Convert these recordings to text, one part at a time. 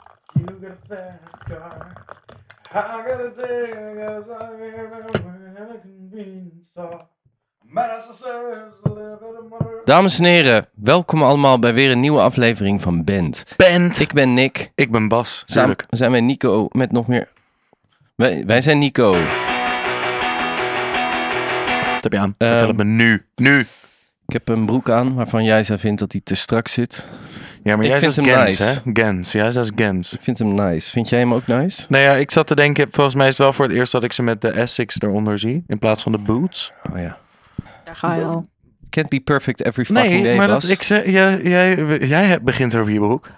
got a fast car. I got a day, I got a time, I can be in store. Medicine service, a little bit of murder. Dames en heren, welkom allemaal bij weer een nieuwe aflevering van Band. Bent. Ik, Ik ben Nick. ben Bas. Samen Tuurlijk. zijn wij Nico met nog meer. Wij, wij zijn Nico. Wat heb je aan? Ehm. Vertel het me nu. Nu. Ik heb een broek aan waarvan jij zou vindt dat die te strak zit. Ja, maar Ik jij vind zegt hem Gens, nice. hè? Gens. Jij zegt Gens. Ik vind hem nice. Vind jij hem ook nice? Nou ja, ik zat te denken, volgens mij is het wel voor het eerst dat ik ze met de Essex eronder zie. In plaats van de boots. Oh ja. Daar ga je al. Can't be perfect every fucking day, maar Bas. dat, ik ze, jij, jij, jij hebt- begint over je broek.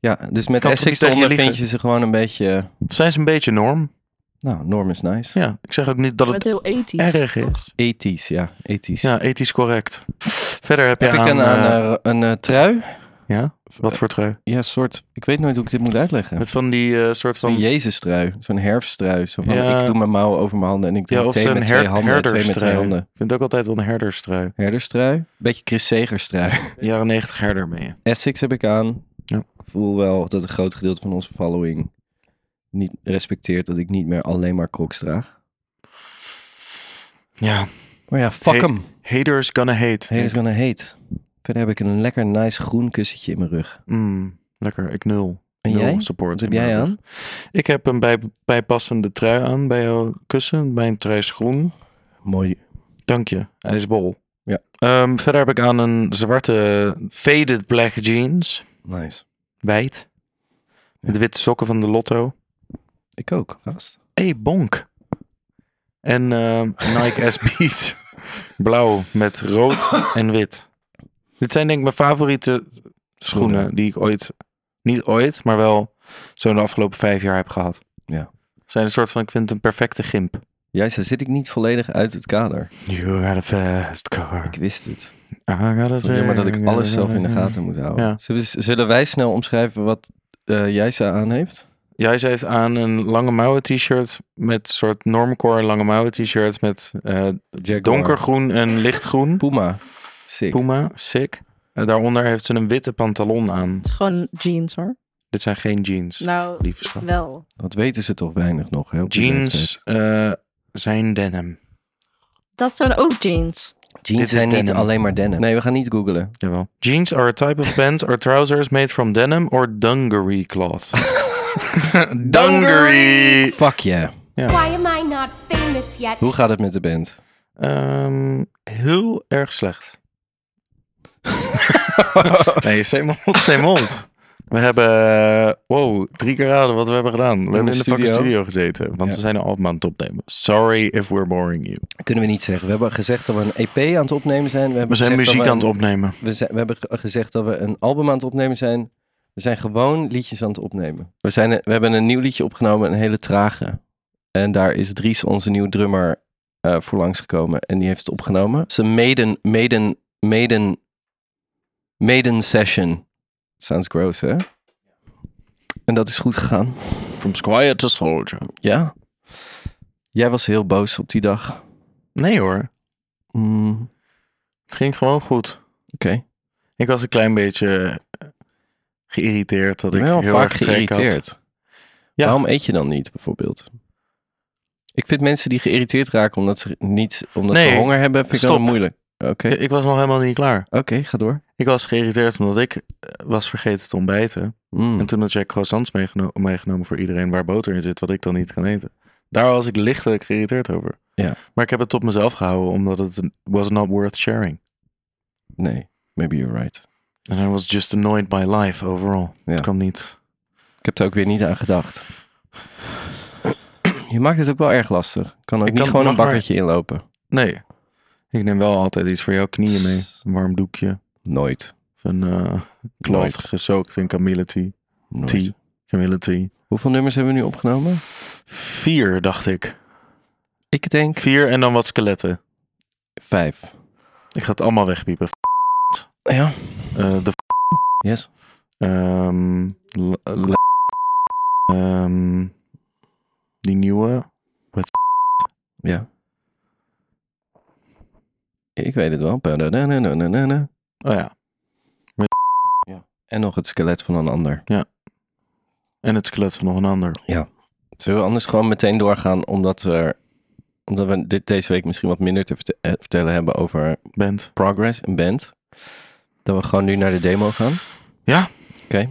Ja, dus met kan toch Essex niet tegen je eronder vind liegen? je ze gewoon een beetje... eh, Zijn ze een beetje norm? Nou, norm is nice. Ja, ik zeg ook niet dat Met het heel ethisch. erg is. Ethisch, ja. Ethisch. Ja, ethisch correct. Verder heb, heb je ik aan... een, aan, eh, eh, een eh, trui? ja? Wat voor trui? Ja, soort... Ik weet nooit hoe ik dit moet uitleggen. Met van die eh, soort van... Zo'n Jezus-trui, zo'n herfsttrui. Zo van, Ja. Ik doe mijn mouwen over mijn handen en ik doe Ja, of thee zo'n met twee her- handen, twee met twee herderstrui. handen. Ik vind het ook altijd wel een herderstrui. Herderstrui, beetje Chris Segers-trui. Jaren 90 herder ben je. Essex heb ik aan. Ja. Ik voel wel dat een groot gedeelte van onze following niet respecteert dat ik niet meer alleen maar crocs draag. Ja, Maar ja, fuck Hey. hem. haters gonna hate. Hey, is gonna hate. Verder heb ik een lekker nice groen kussentje in mijn rug. Mm, lekker, ik nul. En nul jij? support. Wat heb in mijn jij rug. aan? Ik heb een bij, bijpassende trui aan bij jouw kussen. Mijn trui is groen. Mooi. Dank je. Hij is bol. Ja. Ehm, verder heb ik aan een zwarte faded black jeans. Nice. Wijd. Met Ja. witte sokken van de Lotto. Ik ook, gast. hey, bonk. En ehm, Nike SB's. Blauw met rood en wit. Dit zijn denk ik mijn favoriete schoenen die ik ooit, niet ooit, maar wel zo in de afgelopen vijf jaar heb gehad. Ja. Zijn een soort van, ik vind het een perfecte gimp. Jij zei, zit ik niet volledig uit het kader? You got a fast car. Ik wist het. I got a Het is jammer dat ik thing. alles zelf in de gaten moet houden. Ja. Zullen, we- zullen wij snel omschrijven wat eh Jijsa aan heeft? Jij zei het aan een lange mouwen t-shirt met soort normcore lange mouwen t-shirt met eh, Jaguar. donkergroen en lichtgroen. Puma. Sick. Puma, sick. En daaronder heeft ze een witte pantalon aan. Het is gewoon jeans hoor. Dit zijn geen jeans. Nou, lieve schat. wel. Dat weten ze toch weinig nog, hè? op die leeftijd. Jeans eh, zijn denim. Dat zijn ook jeans. Jeans is zijn niet denim. alleen maar denim. Nee, we gaan niet googlen. Jawel. Jeans are a type of pants or trousers made from denim or dungaree cloth. dungaree! Fuck yeah. Why am I not famous yet? Hoe gaat het met de band? Ehm, heel erg slecht. nee, Semond, Semond. We hebben, eh, wow, drie keer raden wat we hebben gedaan. We hebben in de fucking studio. studio gezeten, want Ja. we zijn een album aan het opnemen. Sorry if we're boring you. Kunnen we niet zeggen. We hebben gezegd dat we een EP aan het opnemen zijn. We, hebben We zijn gezegd dat muziek we aan het een- opnemen. We, zijn- we hebben ge- gezegd dat we een album aan het opnemen zijn. We zijn gewoon liedjes aan het opnemen. We, zijn, we hebben een nieuw liedje opgenomen, een hele trage. En daar is Dries, onze nieuwe drummer, eh voor langsgekomen. En die heeft het opgenomen. Het is een maiden, maiden, maiden, maiden session. Sounds gross, hè? En dat is goed gegaan. From Squire to Soldier. Ja. Jij was heel boos op die dag. Nee hoor, Mm, het ging gewoon goed. Oké. Ik was een klein beetje eh, geïrriteerd dat Ik ik ben wel heel vaak erg trek had. geïrriteerd. Ja. Waarom eet je dan niet, bijvoorbeeld? Ik vind mensen die geïrriteerd raken omdat ze niet omdat ze Nee, honger hebben, vind ik stop. Eh. dan moeilijk. Oké, Ik- Ik was nog helemaal niet klaar. oké, ga door. Ik was geïrriteerd omdat ik eh, was vergeten te ontbijten. Mm. En toen had jij croissants meegeno- meegenomen voor iedereen waar boter in zit, wat ik dan niet kan eten. Daar was ik lichtelijk geïrriteerd over. Ja. Maar ik heb het tot mezelf gehouden, omdat het een- was not worth sharing. Nee, maybe you're right. And I was just annoyed by life overall. Ja. Het kwam niet. Ik heb er ook weer niet aan gedacht. Je maakt het ook wel erg lastig. Kan ook Ik niet kan- gewoon een mag maar- bakkertje inlopen. Nee. Ik neem wel altijd iets voor jouw knieën mee. Een warm doekje. Nooit. Of een eh cloth Nooit. gesookt in Camille tea. Nooit. tea. Camille tea. Hoeveel nummers hebben we nu opgenomen? Vier, dacht ik. Ik denk Vier en dan wat skeletten. vijf. Ik ga het allemaal wegpiepen. Ja. Eh, de Yes. Ehm, l- l- ehm, die nieuwe. Ja. Ik weet het wel. Pa-da-da-na-na-na-na. Oh ja. En nog het skelet van een ander. Ja. En het skelet van nog een ander. Zullen we anders gewoon meteen doorgaan, omdat we, omdat we dit, deze week misschien wat minder te verte- eh, vertellen hebben over Bent. Progress en Band. Dat we gewoon nu naar de demo gaan.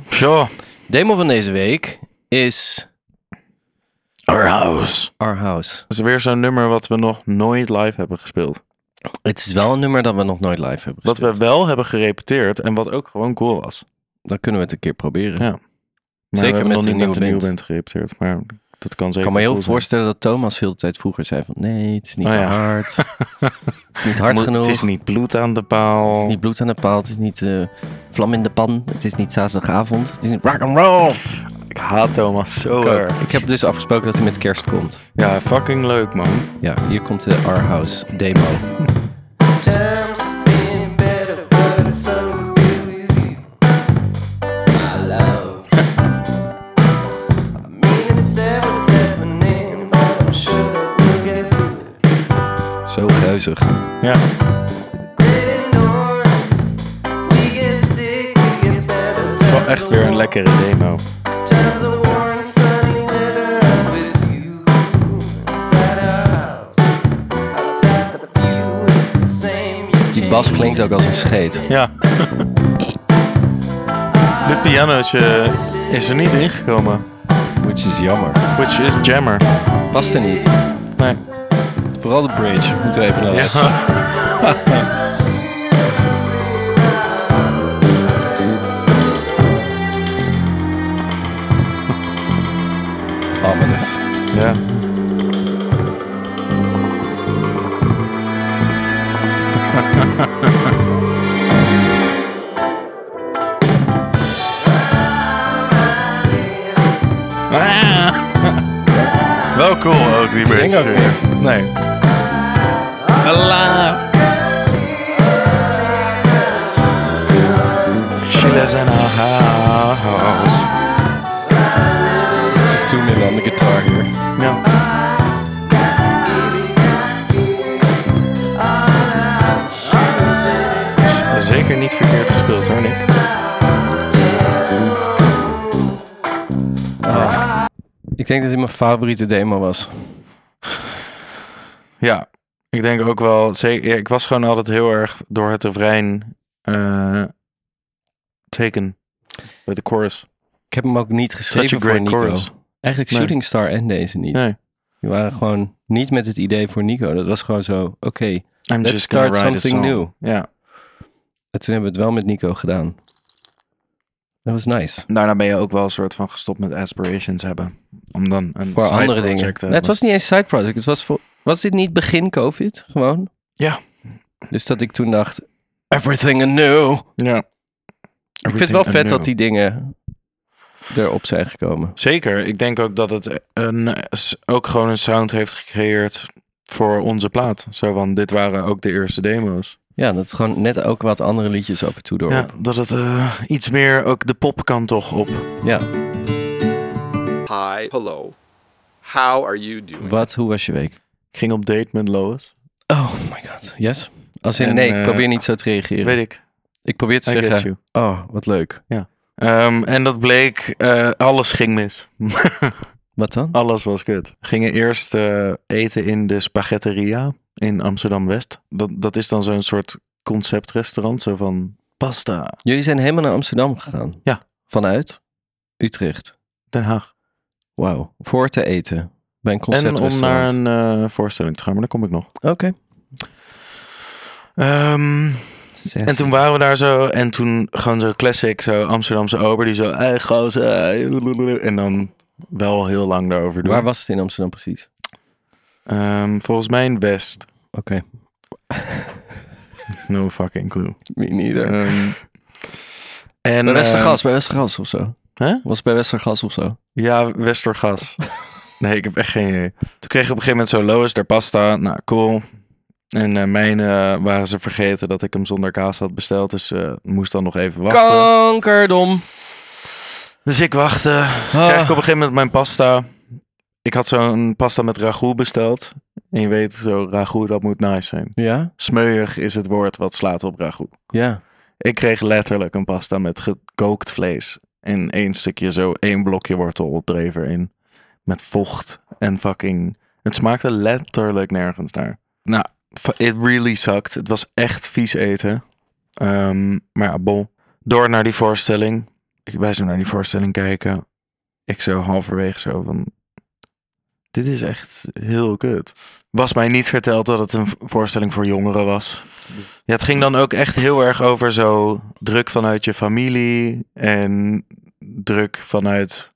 Sure. Demo van deze week is Our House. Our House. Dat is weer zo'n nummer wat we nog nooit live hebben gespeeld. Het is wel een nummer dat we nog nooit live hebben Wat gespeeld. we wel hebben gerepeteerd en wat ook gewoon cool was. Dan kunnen we het een keer proberen. Ja, Maar Zeker we hebben met nog de niet nieuwe met de nieuwe band. band gerepeteerd. Maar dat kan Ik zeker kan me heel cool zijn. voorstellen dat Thomas heel de tijd vroeger zei van... Nee, het is niet Oh ja. hard. het is niet hard Moet- genoeg. Het is niet bloed aan de paal. Het is niet bloed aan de paal. Het is niet eh, vlam in de pan. Het is niet zaterdagavond. Het is niet rock and roll. Ik haat Thomas zo Kijk, erg. Ik heb dus afgesproken dat hij met kerst komt. Ja, fucking leuk man. Ja, hier komt de Our House demo. Times have been better, but so's good with you, my love. I mean, it's what's happening, but I'm sure that we'll get through it. Zo geuzig. Ja, Great ignorance, we get sick, we get better. het is wel echt weer een lekkere demo. Times are warm and sunny weather. I'm with you inside our house. Outside the view is the same. You Die bas klinkt ook als een scheet. Ja. Dit pianootje is er niet ingekomen. Which is jammer. Which is jammer. Past er niet. Nee. Vooral de bridge. Moeten we even naar luisteren. Ja. Ominous. ja. Wel cool ook, die Zing ook bridge. Nee. Allah. She lives in a house. Ze zoomen in on the guitar here. Ja. Zeker niet verkeerd gespeeld hoor, Nick. Ik denk dat dit mijn favoriete demo was. Ja, ik denk ook wel. Zeker, ja, ik was gewoon altijd heel erg door het refrein eh taken. Bij de chorus. Ik heb hem ook niet Such a geschreven voor great Nico. chorus. Eigenlijk Nee. Shooting Star en deze niet. Nee. Die waren gewoon niet met het idee voor Nico. Dat was gewoon zo, oké, I'm let's just gonna start write a something song. new. Ja. En toen hebben we het wel met Nico gedaan. Dat was nice. Daarna ben je ook wel een soort van gestopt met aspirations hebben. Om dan een voor side andere dingen. project te Nee, het hebben. was niet eens side project. Het was, voor, was dit niet begin COVID gewoon? Ja. Dus dat ik toen dacht, everything anew. Ja. ik vind het wel vet dat die dingen erop zijn gekomen. Zeker. Ik denk ook dat het een, ook gewoon een sound heeft gecreëerd voor onze plaat. Zo van, dit waren ook de eerste demo's. Ja, dat is gewoon net ook wat andere liedjes af en toe door. Ja, dat het eh, iets meer ook de popkant toch op. ja. Hi, hello. How are you doing? Wat, hoe was je week? Ik ging op date met Lois. Oh my god, yes. Als in, En, nee, ik eh, probeer niet zo te reageren. Weet ik. ik probeer te I get zeggen, you. oh, wat leuk. Ehm, en dat bleek, eh, alles ging mis. Wat dan? alles was kut. We gingen eerst eh, eten in de Spaghetteria in Amsterdam-West. Dat, dat is dan zo'n soort conceptrestaurant. Zo van pasta, Jullie zijn helemaal naar Amsterdam gegaan? Ja. Vanuit? Utrecht. Den Haag. Wauw. Voor te eten. Bij een En om naar conceptrestaurant. een eh, voorstelling te gaan, maar daar kom ik nog. Oké. Ehm, en toen waren we daar zo, en toen gewoon zo classic, zo Amsterdamse ober, die zo, hey, gozer, en dan wel heel lang daarover doen. Waar was het in Amsterdam precies? Ehm, volgens mij in West. Oké. No fucking clue. Me neither. Ehm, en, bij ehm, Westergas, bij Westergas of zo. Hè? Was het bij Westergas of zo? Ja, Westergas. nee, ik heb echt geen idee. Toen kreeg ik op een gegeven moment zo Lois daar pasta. Nou, cool. En eh mijn eh, waren ze vergeten dat ik hem zonder kaas had besteld. Dus eh, moest dan nog even wachten. Kankerdom. Dus ik wachtte. Krijg ik Ah. op een gegeven moment mijn pasta. Ik had zo'n pasta met ragout besteld. En je weet zo, ragout dat moet nice zijn. Ja? Smeuig is het woord wat slaat op ragout. Ja. Ik kreeg letterlijk een pasta met gekookt vlees En één stukje zo, één blokje wortel er even in. Met vocht en fucking... Het smaakte letterlijk nergens naar. Nou, fu- it really sucked. Het was echt vies eten. Ehm, maar ja, bol. Door naar die voorstelling. Ik, wij zo naar die voorstelling kijken. Ik zo halverwege zo van... Dit is echt heel kut. Was mij niet verteld dat het een v- voorstelling voor jongeren was. Ja, het ging dan ook echt heel erg over zo druk vanuit je familie en druk vanuit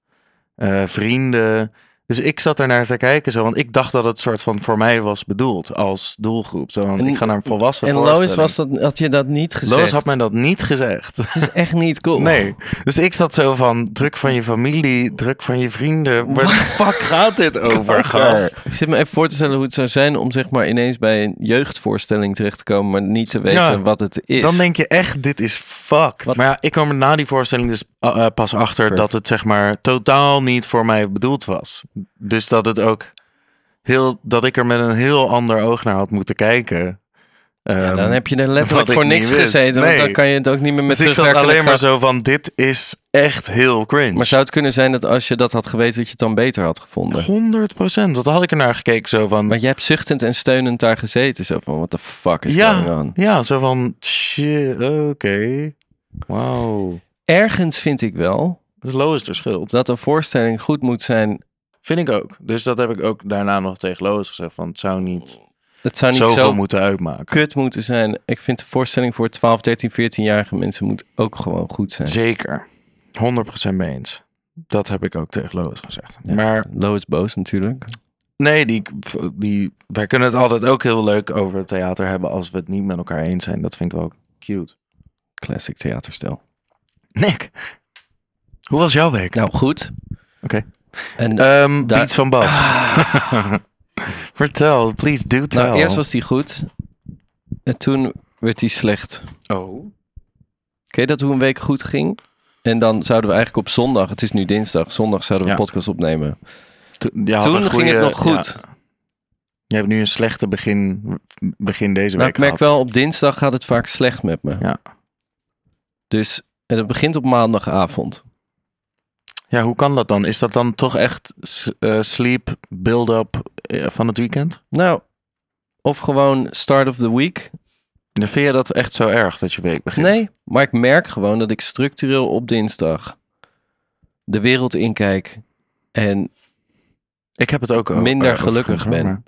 eh, vrienden. Dus ik zat ernaar te kijken, zo, want ik dacht dat het soort van voor mij was bedoeld als doelgroep. Zo, want En- ik ga naar een volwassen En Lois was dat, had je dat niet gezegd. Lois had mij dat niet gezegd. Het is echt niet cool. Nee. Dus ik zat zo van druk van je familie, druk van je vrienden. Waar de fuck gaat dit over, gast? Ik zit me even voor te stellen hoe het zou zijn om zeg maar ineens bij een jeugdvoorstelling terecht te komen, maar niet te weten Ja. wat het is. Dan denk je echt, dit is fucked. Maar ja, ik kwam er na die voorstelling dus eh, eh, pas achter dat het zeg maar totaal niet voor mij bedoeld was. Dus dat het ook heel, dat ik er met een heel ander oog naar had moeten kijken. Ja, dan Ehm, heb je er wat letterlijk ik voor niet niks wist. gezeten, Nee. want dan kan je het ook niet meer met dus ik zat terugwerkende alleen maar kracht- zo van, dit is echt heel cringe. Maar zou het kunnen zijn dat als je dat had geweten, dat je het dan beter had gevonden? 100 procent. Dat had ik er naar gekeken zo van. Maar jij hebt zuchtend en steunend daar gezeten. Zo van, what the fuck is going Ja, on? ja, zo van shit, oké. Wauw. Ergens vind ik wel Dat is Lois de schuld. dat een voorstelling goed moet zijn. Vind ik ook. Dus dat heb ik ook daarna nog tegen Lois gezegd. Van, het zou niet, Het zou niet zoveel zo moeten uitmaken. kut moeten zijn. Ik vind de voorstelling voor 12, 13, 14-jarige mensen moet ook gewoon goed zijn. Zeker. 100% mee eens. Dat heb ik ook tegen Lois gezegd. Ja. Maar Lois boos natuurlijk. nee, die, die, wij kunnen het altijd ook heel leuk over het theater hebben als we het niet met elkaar eens zijn. Dat vind ik wel cute. Classic theaterstel. Nick, hoe was jouw week? Nou, goed. Oké. En eh, Ehm, daar- Beats van Bas. Ah. Vertel, please do tell. nou, eerst was die goed. En toen werd die slecht. Oh. Oké, dat hoe een week goed ging. En dan zouden we eigenlijk op zondag, het is nu dinsdag, zondag zouden we Ja. een podcast opnemen. Toen, je had Toen een ging goeie- het nog ja. goed. je hebt nu een slechte begin, begin deze Maar week Nou, ik merk gehad. wel, op dinsdag gaat het vaak slecht met me. Ja. Dus en het begint op maandagavond. Ja, hoe kan dat dan? Is dat dan toch echt s- eh, sleep build-up eh, van het weekend? Nou, of gewoon start of the week. Dan Nou, vind je dat echt zo erg dat je week begint? Nee, maar ik merk gewoon dat ik structureel op dinsdag de wereld inkijk en Ik heb het ook al- minder eh, gelukkig overigens, ben. hoor,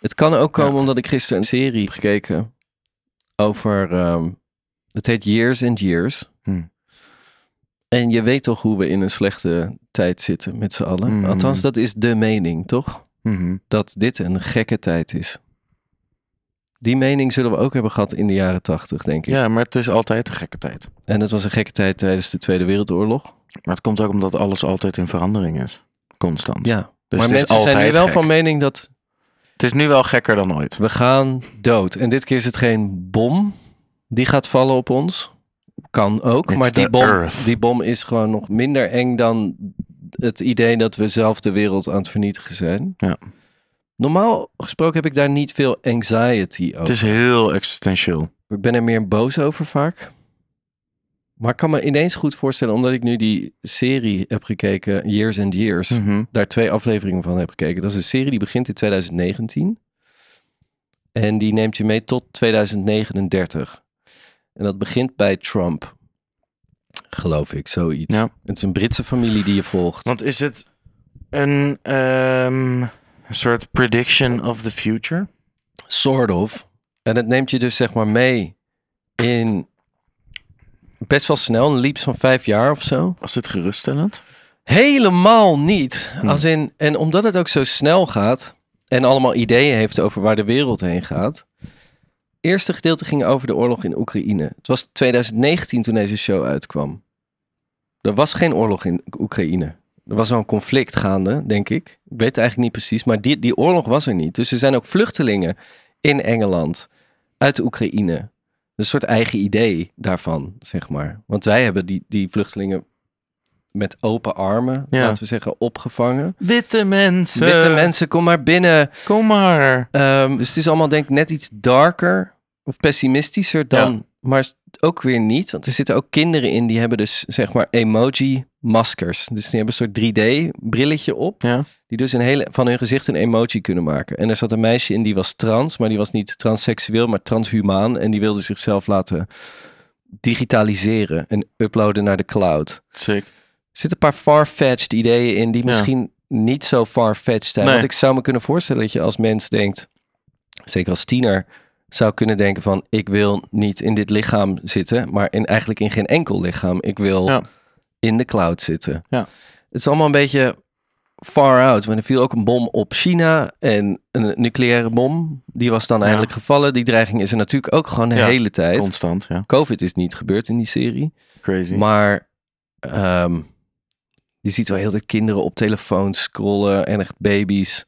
Het kan ook komen Ja. omdat ik gisteren een serie heb gekeken over. ehm, het heet Years and Years. Hmm. En je weet toch hoe we in een slechte tijd zitten met z'n allen. Hmm. Althans, dat is de mening, toch? maar- Mhm. Dat dit een gekke tijd is. Die mening zullen we ook hebben gehad in de jaren tachtig, denk ik. Ja, maar het is altijd een gekke tijd. En het was een gekke tijd tijdens de Tweede Wereldoorlog. Maar het komt ook omdat alles altijd in verandering is. Constant. Ja. Dus maar het is mensen zijn nu altijd wel gek. van mening dat Het is nu wel gekker dan ooit. we gaan dood. En dit keer is het geen bom die gaat vallen op ons. Kan ook, It's maar die the bom, earth. die bom is gewoon nog minder eng dan het idee dat we zelf de wereld aan het vernietigen zijn. Ja. Normaal gesproken heb ik daar niet veel anxiety Het over. is heel existentieel. Ik ben er meer boos over vaak. Maar ik kan me ineens goed voorstellen, omdat ik nu die serie heb gekeken, Years and Years Mhm. daar twee afleveringen van heb gekeken. Dat is een serie die begint in 2019. En die neemt je mee tot 2039. En dat begint bij Trump. Geloof ik, zoiets. Ja. Het is een Britse familie die je volgt. Want is het een ehm, soort prediction of the future? Sort of. En het neemt je dus zeg maar mee in best wel snel, een leaps van vijf jaar of zo. Was dit geruststellend? Helemaal niet. Hmm. Als in, en omdat het ook zo snel gaat en allemaal ideeën heeft over waar de wereld heen gaat. Eerste gedeelte ging over de oorlog in Oekraïne. Het was 2019 toen deze show uitkwam. Er was geen oorlog in Oekraïne. Er was wel een conflict gaande, denk ik. Ik weet het eigenlijk niet precies, maar die, die oorlog was er niet. Dus er zijn ook vluchtelingen in Engeland uit Oekraïne. Een soort eigen idee daarvan, zeg maar. Want wij hebben die, die vluchtelingen met open armen, Ja. laten we zeggen, opgevangen. Witte mensen. Witte mensen, kom maar binnen. Kom maar. Ehm, dus het is allemaal denk ik net iets darker of pessimistischer dan maar s- ook weer niet. Want er zitten ook kinderen in die hebben dus zeg maar emoji-maskers. Dus die hebben een soort 3D-brilletje op. Ja. Die dus een hele, van hun gezicht een emoji kunnen maken. En er zat een meisje in die was trans, maar die was niet transseksueel, maar transhumaan. En die wilde zichzelf laten digitaliseren en uploaden naar de cloud. Sick. Er zitten een paar far-fetched ideeën in die Ja. misschien niet zo far-fetched zijn. Nee. Want ik zou me kunnen voorstellen dat je als mens denkt, zeker als tiener, zou kunnen denken van ik wil niet in dit lichaam zitten, maar in, eigenlijk in geen enkel lichaam. Ik wil Ja. in de cloud zitten. Ja. Het is allemaal een beetje far out. Maar er viel ook een bom op China en een nucleaire bom. Die was dan Ja. eindelijk gevallen. Die dreiging is er natuurlijk ook gewoon de Ja, hele tijd. Constant, ja. Covid is niet gebeurd in die serie. Crazy. Maar ehm, je ziet wel heel de kinderen op telefoons scrollen en echt baby's.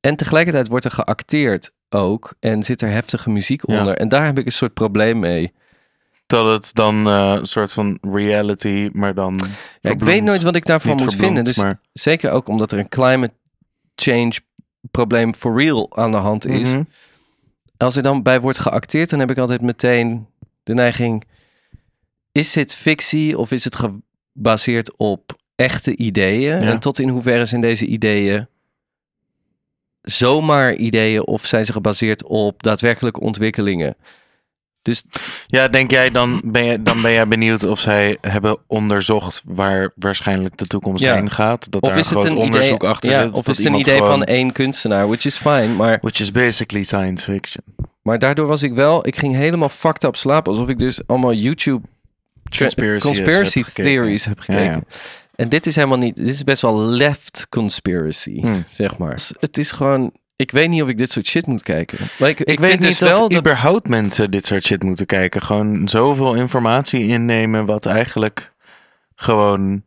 En tegelijkertijd wordt er geacteerd ook en zit er heftige muziek Ja. onder. En daar heb ik een soort probleem mee. dat het dan eh, een soort van reality, maar dan... Ja, ik weet nooit wat ik daarvan moet vinden. Dus maar, zeker ook omdat er een climate change probleem for real aan de hand is. Mhm. Als er dan bij wordt geacteerd, dan heb ik altijd meteen de neiging: is dit fictie of is het gebaseerd op echte ideeën? En tot in hoeverre zijn deze ideeën zomaar ideeën of zijn ze gebaseerd op daadwerkelijke ontwikkelingen? Dus Ja, denk jij dan ben, je, dan ben jij benieuwd of zij hebben onderzocht waar waarschijnlijk de toekomst Ja. heen gaat? Dat of daar is een het groot een onderzoek idee, achter ja, zit? of dat is het een iemand idee van gewoon- één kunstenaar, which is fine, maar Which is basically science fiction. Maar daardoor was ik wel, ik ging helemaal fucked up slapen. Alsof ik dus allemaal YouTube tra- Conspiracies conspiracy heb gekeken. theories heb gekeken. Ja, ja. En dit is helemaal niet, dit is best wel left conspiracy, Hmm. zeg maar. S- Het is gewoon, ik weet niet of ik dit soort shit moet kijken. Maar ik, ik, Ik, weet vind niet dus wel of dat- überhaupt mensen dit soort shit moeten kijken. Gewoon zoveel informatie innemen wat eigenlijk gewoon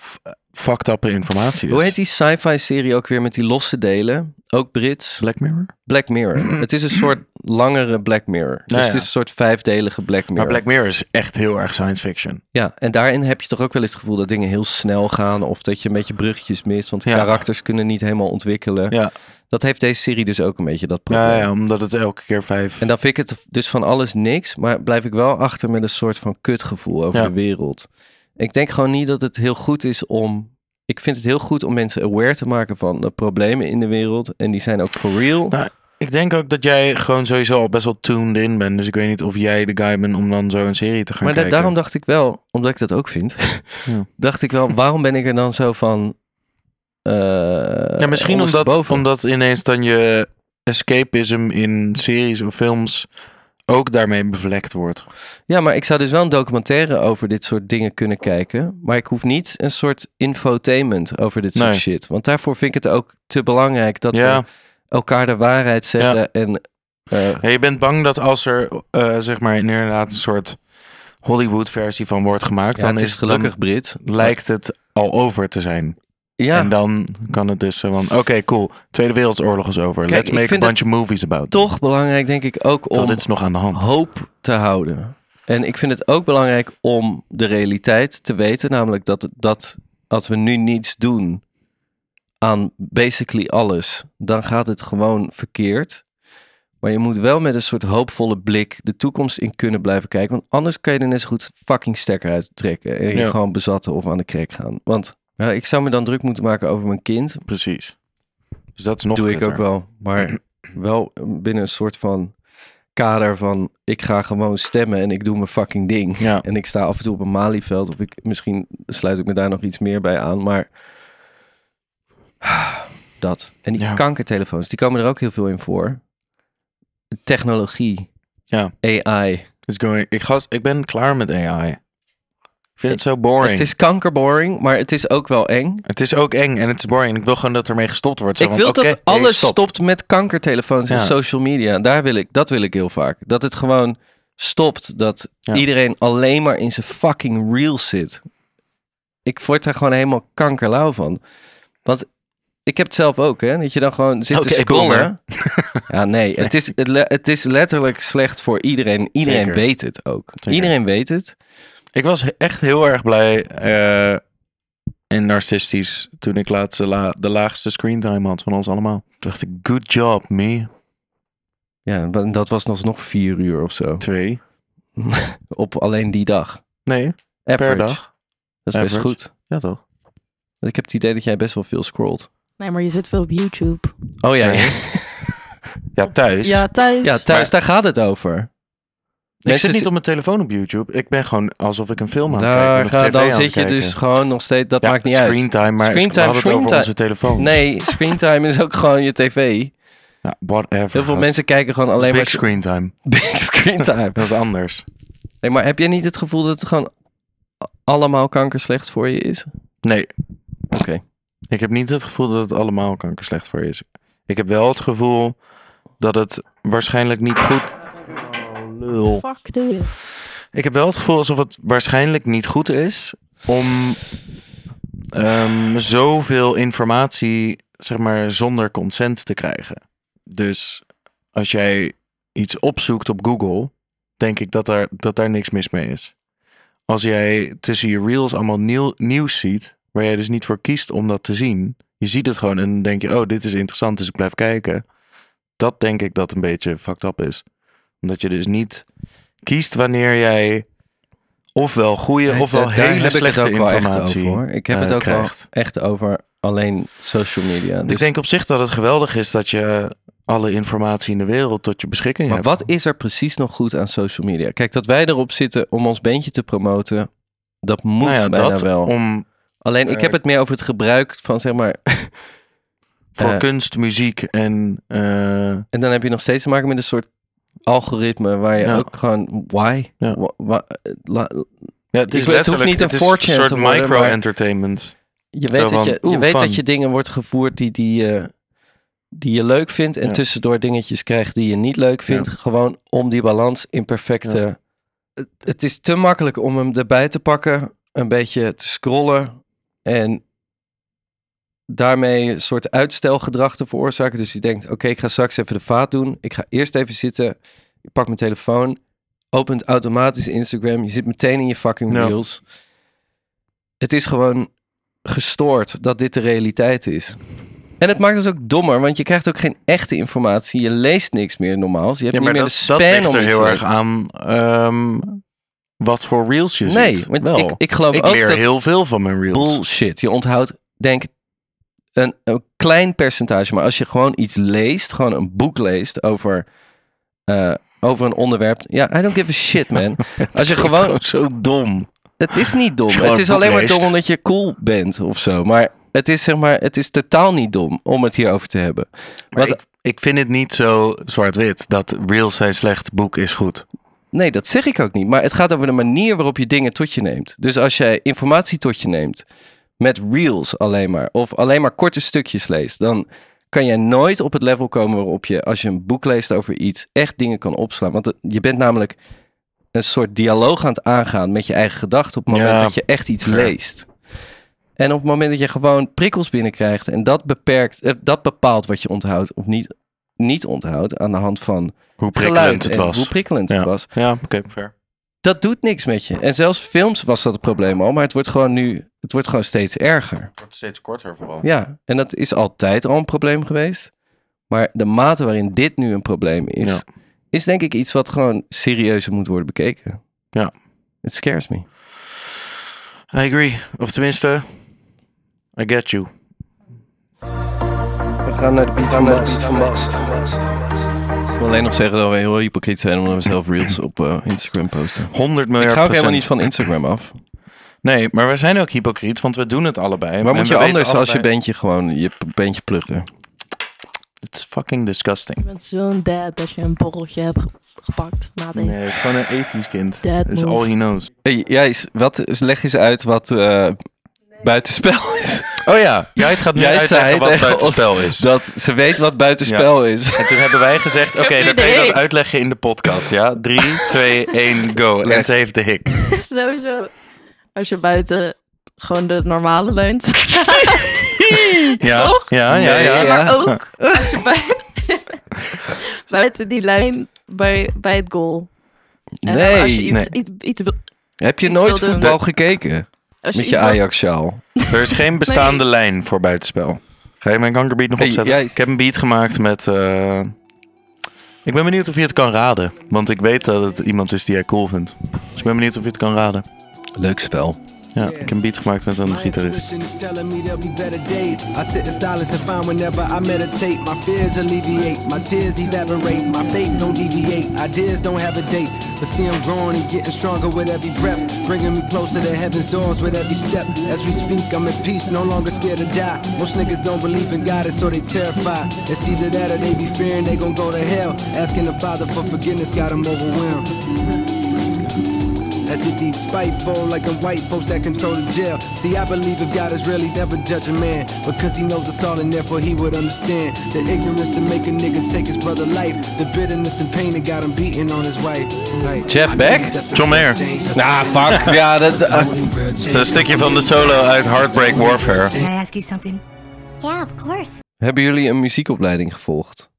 f- fucked up informatie is. Hoe heet die sci-fi serie ook weer met die losse delen? Ook Brits. Black Mirror? Black Mirror. het is een soort langere Black Mirror. Dus Ja, ja. het is een soort vijfdelige Black Mirror. Maar Black Mirror is echt heel erg science fiction. Ja, en daarin heb je toch ook wel eens het gevoel dat dingen heel snel gaan. Of dat je een beetje bruggetjes mist. Want Ja. karakters kunnen niet helemaal ontwikkelen. Ja, Dat heeft deze serie dus ook een beetje dat probleem. ja, ja omdat het elke keer vijf... En dan vind ik het dus van alles niks. Maar blijf ik wel achter met een soort van kutgevoel over Ja. de wereld. Ik denk gewoon niet dat het heel goed is om. Ik vind het heel goed om mensen aware te maken van de problemen in de wereld. En die zijn ook for real. Nou, ik denk ook dat jij gewoon sowieso al best wel tuned in bent. Dus ik weet niet of jij de guy bent om dan zo een serie te gaan maar da- kijken. daarom dacht ik wel, omdat ik dat ook vind, Ja. dacht ik wel, waarom ben ik er dan zo van. eh, Ja, misschien omdat, ondersteboven? omdat ineens dan je escapism in series of films ook daarmee bevlekt wordt. Ja, maar ik zou dus wel een documentaire over dit soort dingen kunnen kijken. Maar ik hoef niet een soort infotainment over dit soort Nee. shit. Want daarvoor vind ik het ook te belangrijk dat ja. we elkaar de waarheid zeggen. En eh, ja, je bent bang dat als er eh, zeg maar inderdaad een soort Hollywood versie van wordt gemaakt, ja, dan het is gelukkig Brit. dan lijkt het al over te zijn. Ja, En dan kan het dus zo van, oké cool, Tweede Wereldoorlog is over. Let's ik make a vind bunch of movies about. it. toch belangrijk denk ik ook Terwijl om dit is nog aan de hand. hoop te houden. En ik vind het ook belangrijk om de realiteit te weten. Namelijk dat, dat als we nu niets doen aan basically alles, dan gaat het gewoon verkeerd. Maar je moet wel met een soort hoopvolle blik de toekomst in kunnen blijven kijken. Want anders kan je er net zo goed fucking stekker uit trekken. En je Ja. gewoon bezatten of aan de krek gaan. Want ja, ik zou me dan druk moeten maken over mijn kind. Precies. Dus dat is nog doe ik kutter. ook wel. Maar wel eh, binnen een soort van kader van ik ga gewoon stemmen en ik doe mijn fucking ding. Ja. En ik sta af en toe op een malieveld. Of ik, misschien sluit ik me daar nog iets meer bij aan. Maar dat. En die Ja. kankertelefoons, die komen er ook heel veel in voor. Technologie. Ja. AI. It's going, ik, gast, ik ben klaar met AI. Ik vind het zo boring. Het is kankerboring, maar het is ook wel eng. ook eng en het is boring. Ik wil gewoon dat ermee gestopt wordt. Zo ik van, wil oké, dat hey, alles stop. stopt met kankertelefoons en Ja. social media. Daar wil ik, dat wil ik heel vaak. Dat het gewoon stopt. Dat Ja. iedereen alleen maar in zijn fucking reels zit. Ik word daar gewoon helemaal kankerlauw van. Want ik heb het zelf ook, hè? Dat je dan gewoon zit Oké, te scrollen. boomer. Ja, nee. Het is, het, le- het is letterlijk slecht voor iedereen. Iedereen Zeker. weet het ook. Zeker. Iedereen weet het. Ik was he- echt heel erg blij eh, en narcistisch toen ik laatst de, la- de laagste screentime had van ons allemaal. Toen dacht ik, good job me. Ja, en dat was nog vier uur of zo. Twee. op alleen die dag. Nee, Average. per dag. Dat is best Average. goed. Ja, toch? Want Ik heb het idee dat jij best wel veel scrolt. Nee, maar je zit veel op YouTube. Oh ja, Nee. ja. Ja, thuis. Ja, thuis. ja thuis, daar gaat het over. ik mensen zit niet zi- op mijn telefoon op YouTube. Ik ben gewoon alsof ik een film aan het Daar kijken ben. of ga, TV aan dan het zit je kijken. dus gewoon nog steeds, dat Ja, maakt niet uit. screentime, maar Screen we time, hadden het screen over time. onze telefoon. Nee, screentime is ook gewoon je tv. Ja, whatever. Heel veel gast. mensen kijken gewoon Dat is alleen maar... Big screen time. Big screentime. Dat is anders. Nee, maar heb jij niet het gevoel dat het gewoon a- allemaal kanker slecht voor je is? Nee, Oké. ik heb niet het gevoel dat het allemaal kanker slecht voor je is. Ik heb wel het gevoel dat het waarschijnlijk niet goed... Oh, lul. Fuck doe je. Ik heb wel het gevoel alsof het waarschijnlijk niet goed is om ehm, zoveel informatie, zeg maar, zonder consent te krijgen. Dus als jij iets opzoekt op Google, denk ik dat daar, dat daar niks mis mee is. Als jij tussen je reels allemaal nieuw, nieuws ziet, waar jij dus niet voor kiest om dat te zien, je ziet het gewoon en dan denk je, oh, dit is interessant, dus ik blijf kijken. Dat denk ik dat een beetje fucked up is. Omdat je dus niet kiest wanneer jij ofwel goede Nee, ofwel daar hele heb ik slechte het ook wel echt informatie over, hoor. Ik heb eh, het ook krijgt. wel echt over alleen social media. Want Dus, Ik denk op zich dat het geweldig is dat je alle informatie in de wereld tot je beschikking maar hebt. wat is er precies nog goed aan social media? Kijk, dat wij erop zitten om ons beentje te promoten, dat moet nou ja, bijna dat wel. om eh, Alleen, ik heb het meer over het gebruik van, zeg maar... voor Eh. kunst, muziek en eh, En dan heb je nog steeds te maken met een soort algoritme waar je Ja. ook gewoon... Why? Ja. Wa- wa- eh, la- Ja, het Ik is weet- het hoeft letterlijk- niet een het is 4chan soort te worden, maar- micro-entertainment. Je Zo weet, dat van, je, je, oeh, weet fun. dat je dingen wordt gevoerd die, die, eh, die je leuk vindt. En Ja. tussendoor dingetjes krijgt die je niet leuk vindt. Gewoon om die balans in perfecte... Het, het is te makkelijk om hem erbij te pakken. Een beetje te scrollen. En daarmee een soort uitstelgedrag te veroorzaken. Dus je denkt, oké, ik ga straks even de vaat doen. Ik ga eerst even zitten. Ik pak mijn telefoon. Opent automatisch Instagram. Je zit meteen in je fucking Ja. reels. Het is gewoon gestoord dat dit de realiteit is. En het maakt ons ook dommer, want je krijgt ook geen echte informatie. Je leest niks meer normaal. Je hebt Ja, niet maar meer dat, de dat span ligt om er iets heel te erg lezen. aan ehm, wat voor reels je Nee, ziet. want Wel. ik, ik geloof Ik ook leer dat heel veel van mijn reels. bullshit. Je onthoudt, denk een, een klein percentage. Maar als je gewoon iets leest, gewoon een boek leest over, eh, over een onderwerp. Ja, I don't give a shit, man. als je Klinkt gewoon, zo dom. het is niet dom. Als je gewoon Het is een boek alleen maar leest. dom omdat je cool bent of zo. Maar het is zeg maar, het is totaal niet dom om het hierover te hebben. Maar Wat- ik, ik vind het niet zo zwart-wit dat reels zijn slecht, boek is goed. Nee, dat zeg ik ook niet. Maar het gaat over de manier waarop je dingen tot je neemt. Dus als jij informatie tot je neemt met reels alleen maar, of alleen maar korte stukjes leest, dan kan jij nooit op het level komen waarop je, als je een boek leest over iets, echt dingen kan opslaan. Want het- je bent namelijk een soort dialoog aan het aangaan met je eigen gedachten op het moment Ja. dat je echt iets Fair. leest. En op het moment dat je gewoon prikkels binnenkrijgt en dat beperkt, eh, dat bepaalt wat je onthoudt of niet, niet onthoudt aan de hand van Hoe geluid prikkelend het en was. hoe prikkelend het Ja. was ja, oké, fair. dat doet niks met je. En zelfs films was dat het probleem al, maar het wordt gewoon nu, het wordt gewoon steeds erger. Het wordt steeds korter vooral. Ja, en dat is altijd al een probleem geweest. Maar de mate waarin dit nu een probleem is, Ja. is denk ik iets wat gewoon serieuzer moet worden bekeken. Ja. It scares me. I agree. Of tenminste, I get you. We gaan naar de beat van Bas. Ik wil alleen nog zeggen dat we heel hypocriet zijn omdat we zelf reels op eh, Instagram posten. 100 Ik miljard ga ook helemaal Oh procent. niet van Instagram af. Nee, maar we zijn ook hypocriet, want we doen het allebei. Maar En moet we je weten anders als je allebei- bandje gewoon je bandje pluggen? It's fucking disgusting. Je bent zo'n dad dat je een borreltje hebt ge- gepakt na deze. Nee, het is gewoon een ethisch kind. Dead That's all move. he knows. Hey, jij is, wat, is- leg eens uit wat eh, buitenspel is. Oh ja, Jijs gaat nu Jij uitleggen zei wat tegen buitenspel ons is. Dat ze weet wat buitenspel is. En toen hebben wij gezegd, oké, dan kan je dat uitleggen in de podcast, ja? 3, 2, 1, go. En ze heeft de hik. Sowieso. Als je buiten gewoon de normale leunt. Ja, Toch? ja, ja. ja, Nee, maar ook als je buiten, buiten die lijn bij, bij het goal. En Als je Nee. iets, nee. iets, iets wil- Heb je iets nooit wil doen. voetbal gekeken? als je Met iets je wil- Ajax-sjaal. Er is geen bestaande lijn voor buitenspel. Ga je mijn kankerbeat nog Hey, opzetten? Jijs. Ik heb een beat gemaakt met... eh, Ik ben benieuwd of je het kan raden. Want ik weet dat het iemand is die jij cool vindt. Dus ik ben benieuwd of je het kan raden. Leuk spel. Ja, ik heb een beat gemaakt met een My gitarist. intuition is telling me there'll be better days. I sit in silence and find whenever I meditate. My fears alleviate, my tears evaporate, my fate don't deviate. Ideas don't have a date, but see I'm growing and getting stronger with every breath, bringing me closer to heaven's doors with every step. As we speak, I'm at peace, no longer scared to die. Most niggas don't believe in God, and so they terrified. It's either that or they be fearing they gon' go to hell. Asking the Father for forgiveness got 'em overwhelmed. As it be spiteful, like them white folks that control the jail. See, I believe if God is really never judge a man, because he knows us all and therefore he would understand. The ignorance to make a nigga take his brother life, the bitterness and pain that got him beating on his wife. Like, Jeff I Beck? think that's John Mayer. changed. Ah, fuck. ja, dat... ah. Het is een stukje van de solo uit Heartbreak Warfare. Can I ask you something? Yeah, of course. Hebben jullie een muziekopleiding gevolgd?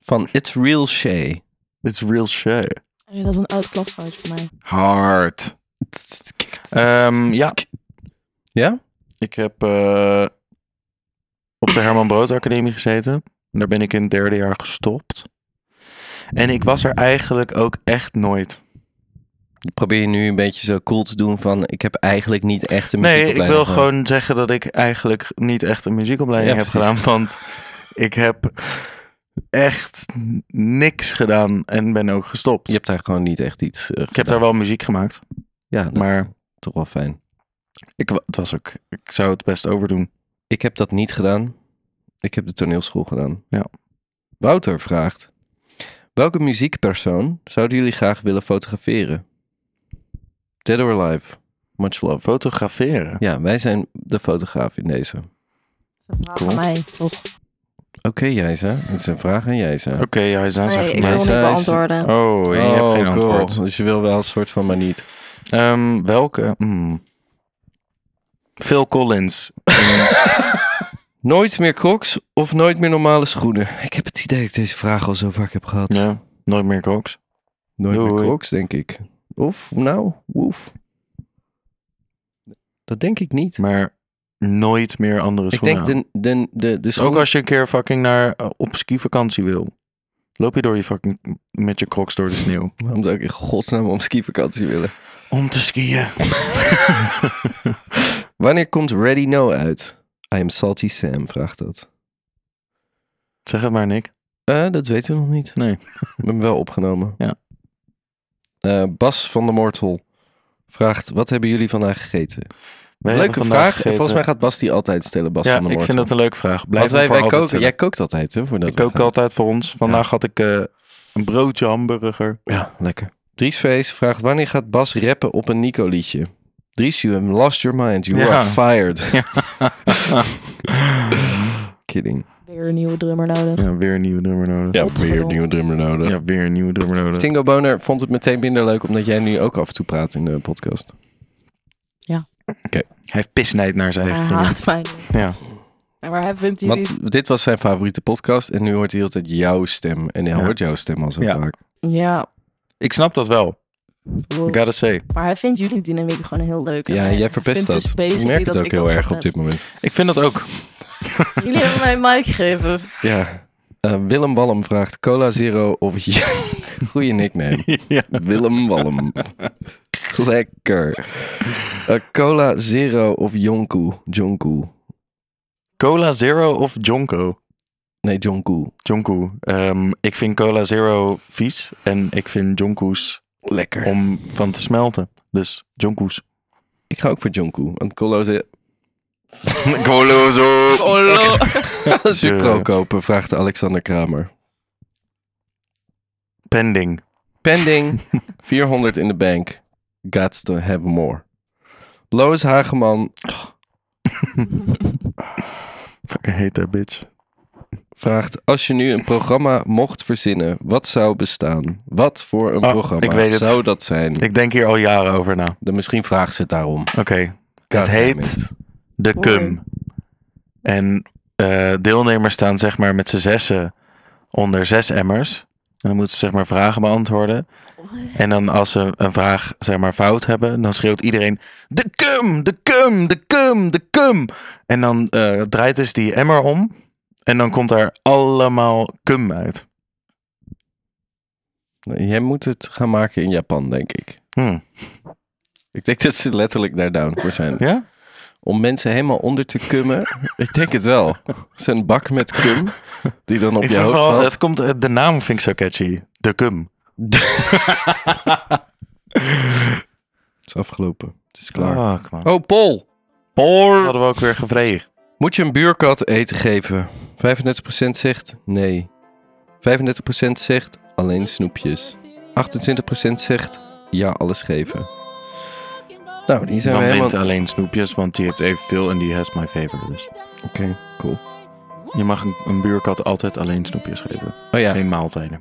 Van It's Real Shay. It's real shit. Dat is een oud klasfoutje voor mij. Hard. Ehm, ja. Ja? Ik heb eh, op de Herman Brood Academie gezeten. Daar ben ik in het derde jaar gestopt. En ik was er eigenlijk ook echt nooit. Probeer je nu een beetje zo cool te doen van... Ik heb eigenlijk niet echt een Nee, muziekopleiding ik wil gehad. gewoon zeggen dat ik eigenlijk niet echt een muziekopleiding Ja, heb precies. gedaan. Want ik heb echt niks gedaan en ben ook gestopt. Je hebt daar gewoon niet echt iets... eh, Ik heb daar wel muziek gemaakt. ja, dat maar- Toch wel fijn. Ik, wa- het was ook, ik zou het best overdoen. Ik heb dat niet gedaan. Ik heb de toneelschool gedaan. Ja. Wouter vraagt... Welke muziekpersoon zouden jullie graag willen fotograferen? Dead or Alive. Much love. Fotograferen. Ja, wij zijn de fotograaf in deze. Van mij, toch? Oké, Jijza. Het is een vraag aan Jijza. Oké, hij is aan Nee, zijn ik wil mij. niet Zij is- beantwoorden. Oh, je hebt geen cool. antwoord. Dus je wil wel een soort van, maar niet. Ehm, welke? Hmm. Phil Collins. Nooit meer crocs of nooit meer normale schoenen? Ik heb het idee dat ik deze vraag al zo vaak heb gehad. Ja, nooit meer Crocs. Nooit meer Doei. crocs, denk ik. Of, nou, woef. Dat denk ik niet. Maar nooit meer andere Ik schoenen denk aan. de, de, de, de schoen... Ook als je een keer fucking naar, eh, op skivakantie wil. Loop je door je fucking met je crocs door de sneeuw. Waarom zou ik in godsnaam om skivakantie willen? Om te skiën. Wanneer komt Ready No uit? I am Salty Sam, vraagt dat. Zeg het maar, Nick. Eh, dat weten we nog niet. Nee. We hebben hem wel opgenomen. Ja. Eh, Bas van der Mortel vraagt: Wat hebben jullie vandaag gegeten? Wij hebben Leuke vandaag vraag. gegeten- Volgens mij gaat Bas die altijd stellen. Bas Ja, van der ik Mortel. vind dat een leuke vraag. Want Blijf wij, wij, wij koken. koken. Jij kookt altijd, hè? Voordat ik we kook gaan. altijd voor ons. Vandaag had ik eh, een broodje hamburger. Ja, lekker. Dries Vees vraagt: Wanneer gaat Bas rappen op een Nico-liedje? Dries, you have lost your mind. You Ja. are fired. Kidding. Weer een nieuwe drummer nodig. Ja, weer een nieuwe nummer nodig. Ja, weer Godverdomme. een nieuwe drummer nodig. Ja, weer een nieuwe nummer nodig. Tingo Boner vond het meteen minder leuk omdat jij nu ook af en toe praat in de podcast. Hij heeft pisnijd naar zijn Hij eigen Ah. vriendin. haat mij. Ja. Ja, Maar hij vindt jullie... Want dit was zijn favoriete podcast en nu hoort hij altijd jouw stem. En hij Ja. hoort jouw stem al zo Ja. vaak. Ja. Ik snap dat wel. wow. I gotta say. Maar hij vindt jullie dynamiek gewoon heel leuk. Ja, Hij jij verpest vindt dat. dus basically Ik merk het dat ook ik heel dat erg op verpest. dit moment. Ik vind dat ook. Jullie hebben mij een mic gegeven. Ja. Eh, Willem Wallem vraagt Cola Zero of... Goeie nickname. ja. Willem Wallem. Lekker. Eh, Cola Zero of Jonku. Jonku. Cola Zero of Jonko? Nee, Jonku. Jonko. Ehm, ik vind Cola Zero vies. En ik vind Jonko's Lekker. om van te smelten. Dus Jonko's. Ik ga ook voor Jonku. Want Cola Zero... Cola Zero. Olo. Supro kopen, vraagt Alexander Kramer. Pending. Pending. 400 in de bank. Gots to have more. Lois Hageman Fucking hate that bitch. vraagt... Als je nu een programma mocht verzinnen, wat zou bestaan? Wat voor een Oh, programma ik weet het. zou dat zijn? Ik denk hier al jaren over na. Dan misschien vraagt ze het daarom. Oké. Het heet Goddammit. De Mooi. Cum. En eh, deelnemers staan zeg maar met z'n zessen onder zes emmers. En dan moeten ze zeg maar vragen beantwoorden. En dan als ze een vraag zeg maar fout hebben, dan schreeuwt iedereen... De Cum, de Cum, de Cum, de Cum. En dan eh, draait dus die emmer om. En dan komt er allemaal cum uit. Nee, Jij moet het gaan maken in Japan, denk ik. Hmm. Ik denk dat ze letterlijk daar down voor zijn. Ja? Om mensen helemaal onder te kummen. ik denk het wel. Zo'n bak met cum. Die dan op Ik je vind hoofd wel, valt. het komt, eh, de naam vind ik zo catchy. De cum. Het is afgelopen. Het is klaar. Oh, come on. Oh, Paul. Dat hadden we ook weer gevreegd. Moet je een buurkat eten geven? 35% zegt nee. 35% zegt alleen snoepjes. 28% zegt ja, alles geven. Nou, die zijn Dan we helemaal... wint alleen Snoepjes, want die heeft evenveel en die has my favorite. Dus Oké, cool. je mag een, een buurkat altijd alleen Snoepjes geven. Oh ja, Geen maaltijden.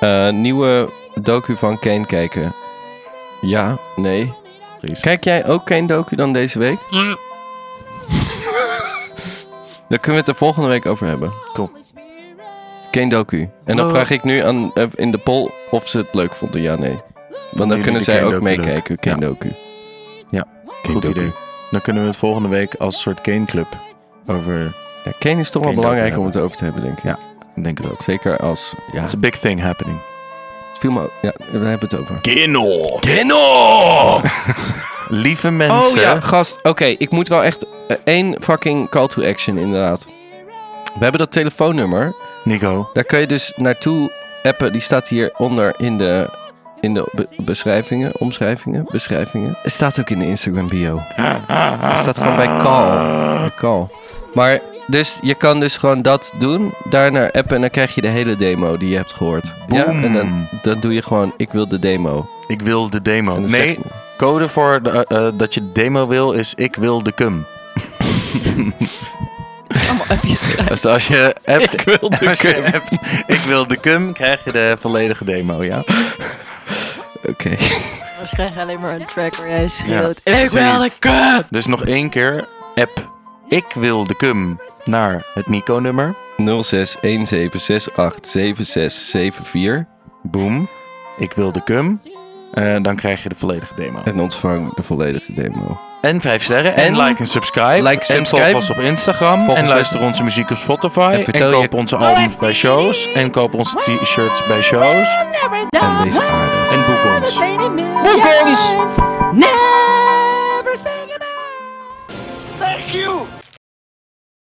eh, nieuwe docu van Kane kijken. Ja, nee. Precies. Kijk jij ook Kane docu dan deze week? Ja. Daar kunnen we het er volgende week over hebben. Cool. Kane docu. En Oh. dan vraag ik nu aan, eh, in de poll of ze het leuk vonden, ja, nee. Want dan Jullie kunnen de zij Kane ook docu meekijken, leuk. Kane Ja. docu. Goed docu. idee. Dan kunnen we het volgende week als soort Kane Club over... Ja, Kane is toch Kane wel belangrijk docu om het over te hebben, denk ik. Ja. Ik denk het ook. Zeker als... Ja, It's a big thing happening. het viel me ook- ja, we hebben het over. Kino! Kino! Lieve Oh mensen. ja, gast. Oké, ik moet wel echt eh, één fucking call to action, inderdaad. We hebben dat telefoonnummer. Nico. Daar kun je dus naartoe appen. Die staat hieronder in de, in de be- beschrijvingen, omschrijvingen, beschrijvingen. Het staat ook in de Instagram bio. Het staat gewoon bij call. Bij call. Maar dus je kan dus gewoon dat doen, daarnaar appen en dan krijg je de hele demo die je hebt gehoord. Ja, Boom. en dan, dan doe je gewoon, ik wil de demo. Ik wil de demo. En dan Nee, zegt- code voor de, eh, eh, dat je de demo wil is ik wil de cum. Allemaal appjes krijgen. Dus als je appt, Ik wil de als je cum. appt, ik wil de cum, krijg je de volledige demo, ja? Oké. We krijgen alleen maar een track waar jij schreeuwt. Ja. Ik wil de Precies. cup! Dus nog één keer, app ik wil de cum naar het Nico-nummer. 0617687674 Boom. Ik wil de cum. Eh, dan krijg je de volledige demo. en ontvang de volledige demo. En vijf sterren. En, En like en subscribe. like, en subscribe. volg ons op Instagram. Volg en ons luister onze muziek op Spotify. En En, vertel koop je- onze albums bij shows. En koop onze t-shirts bij shows. En deze aarde. En boek ons. Boek ons!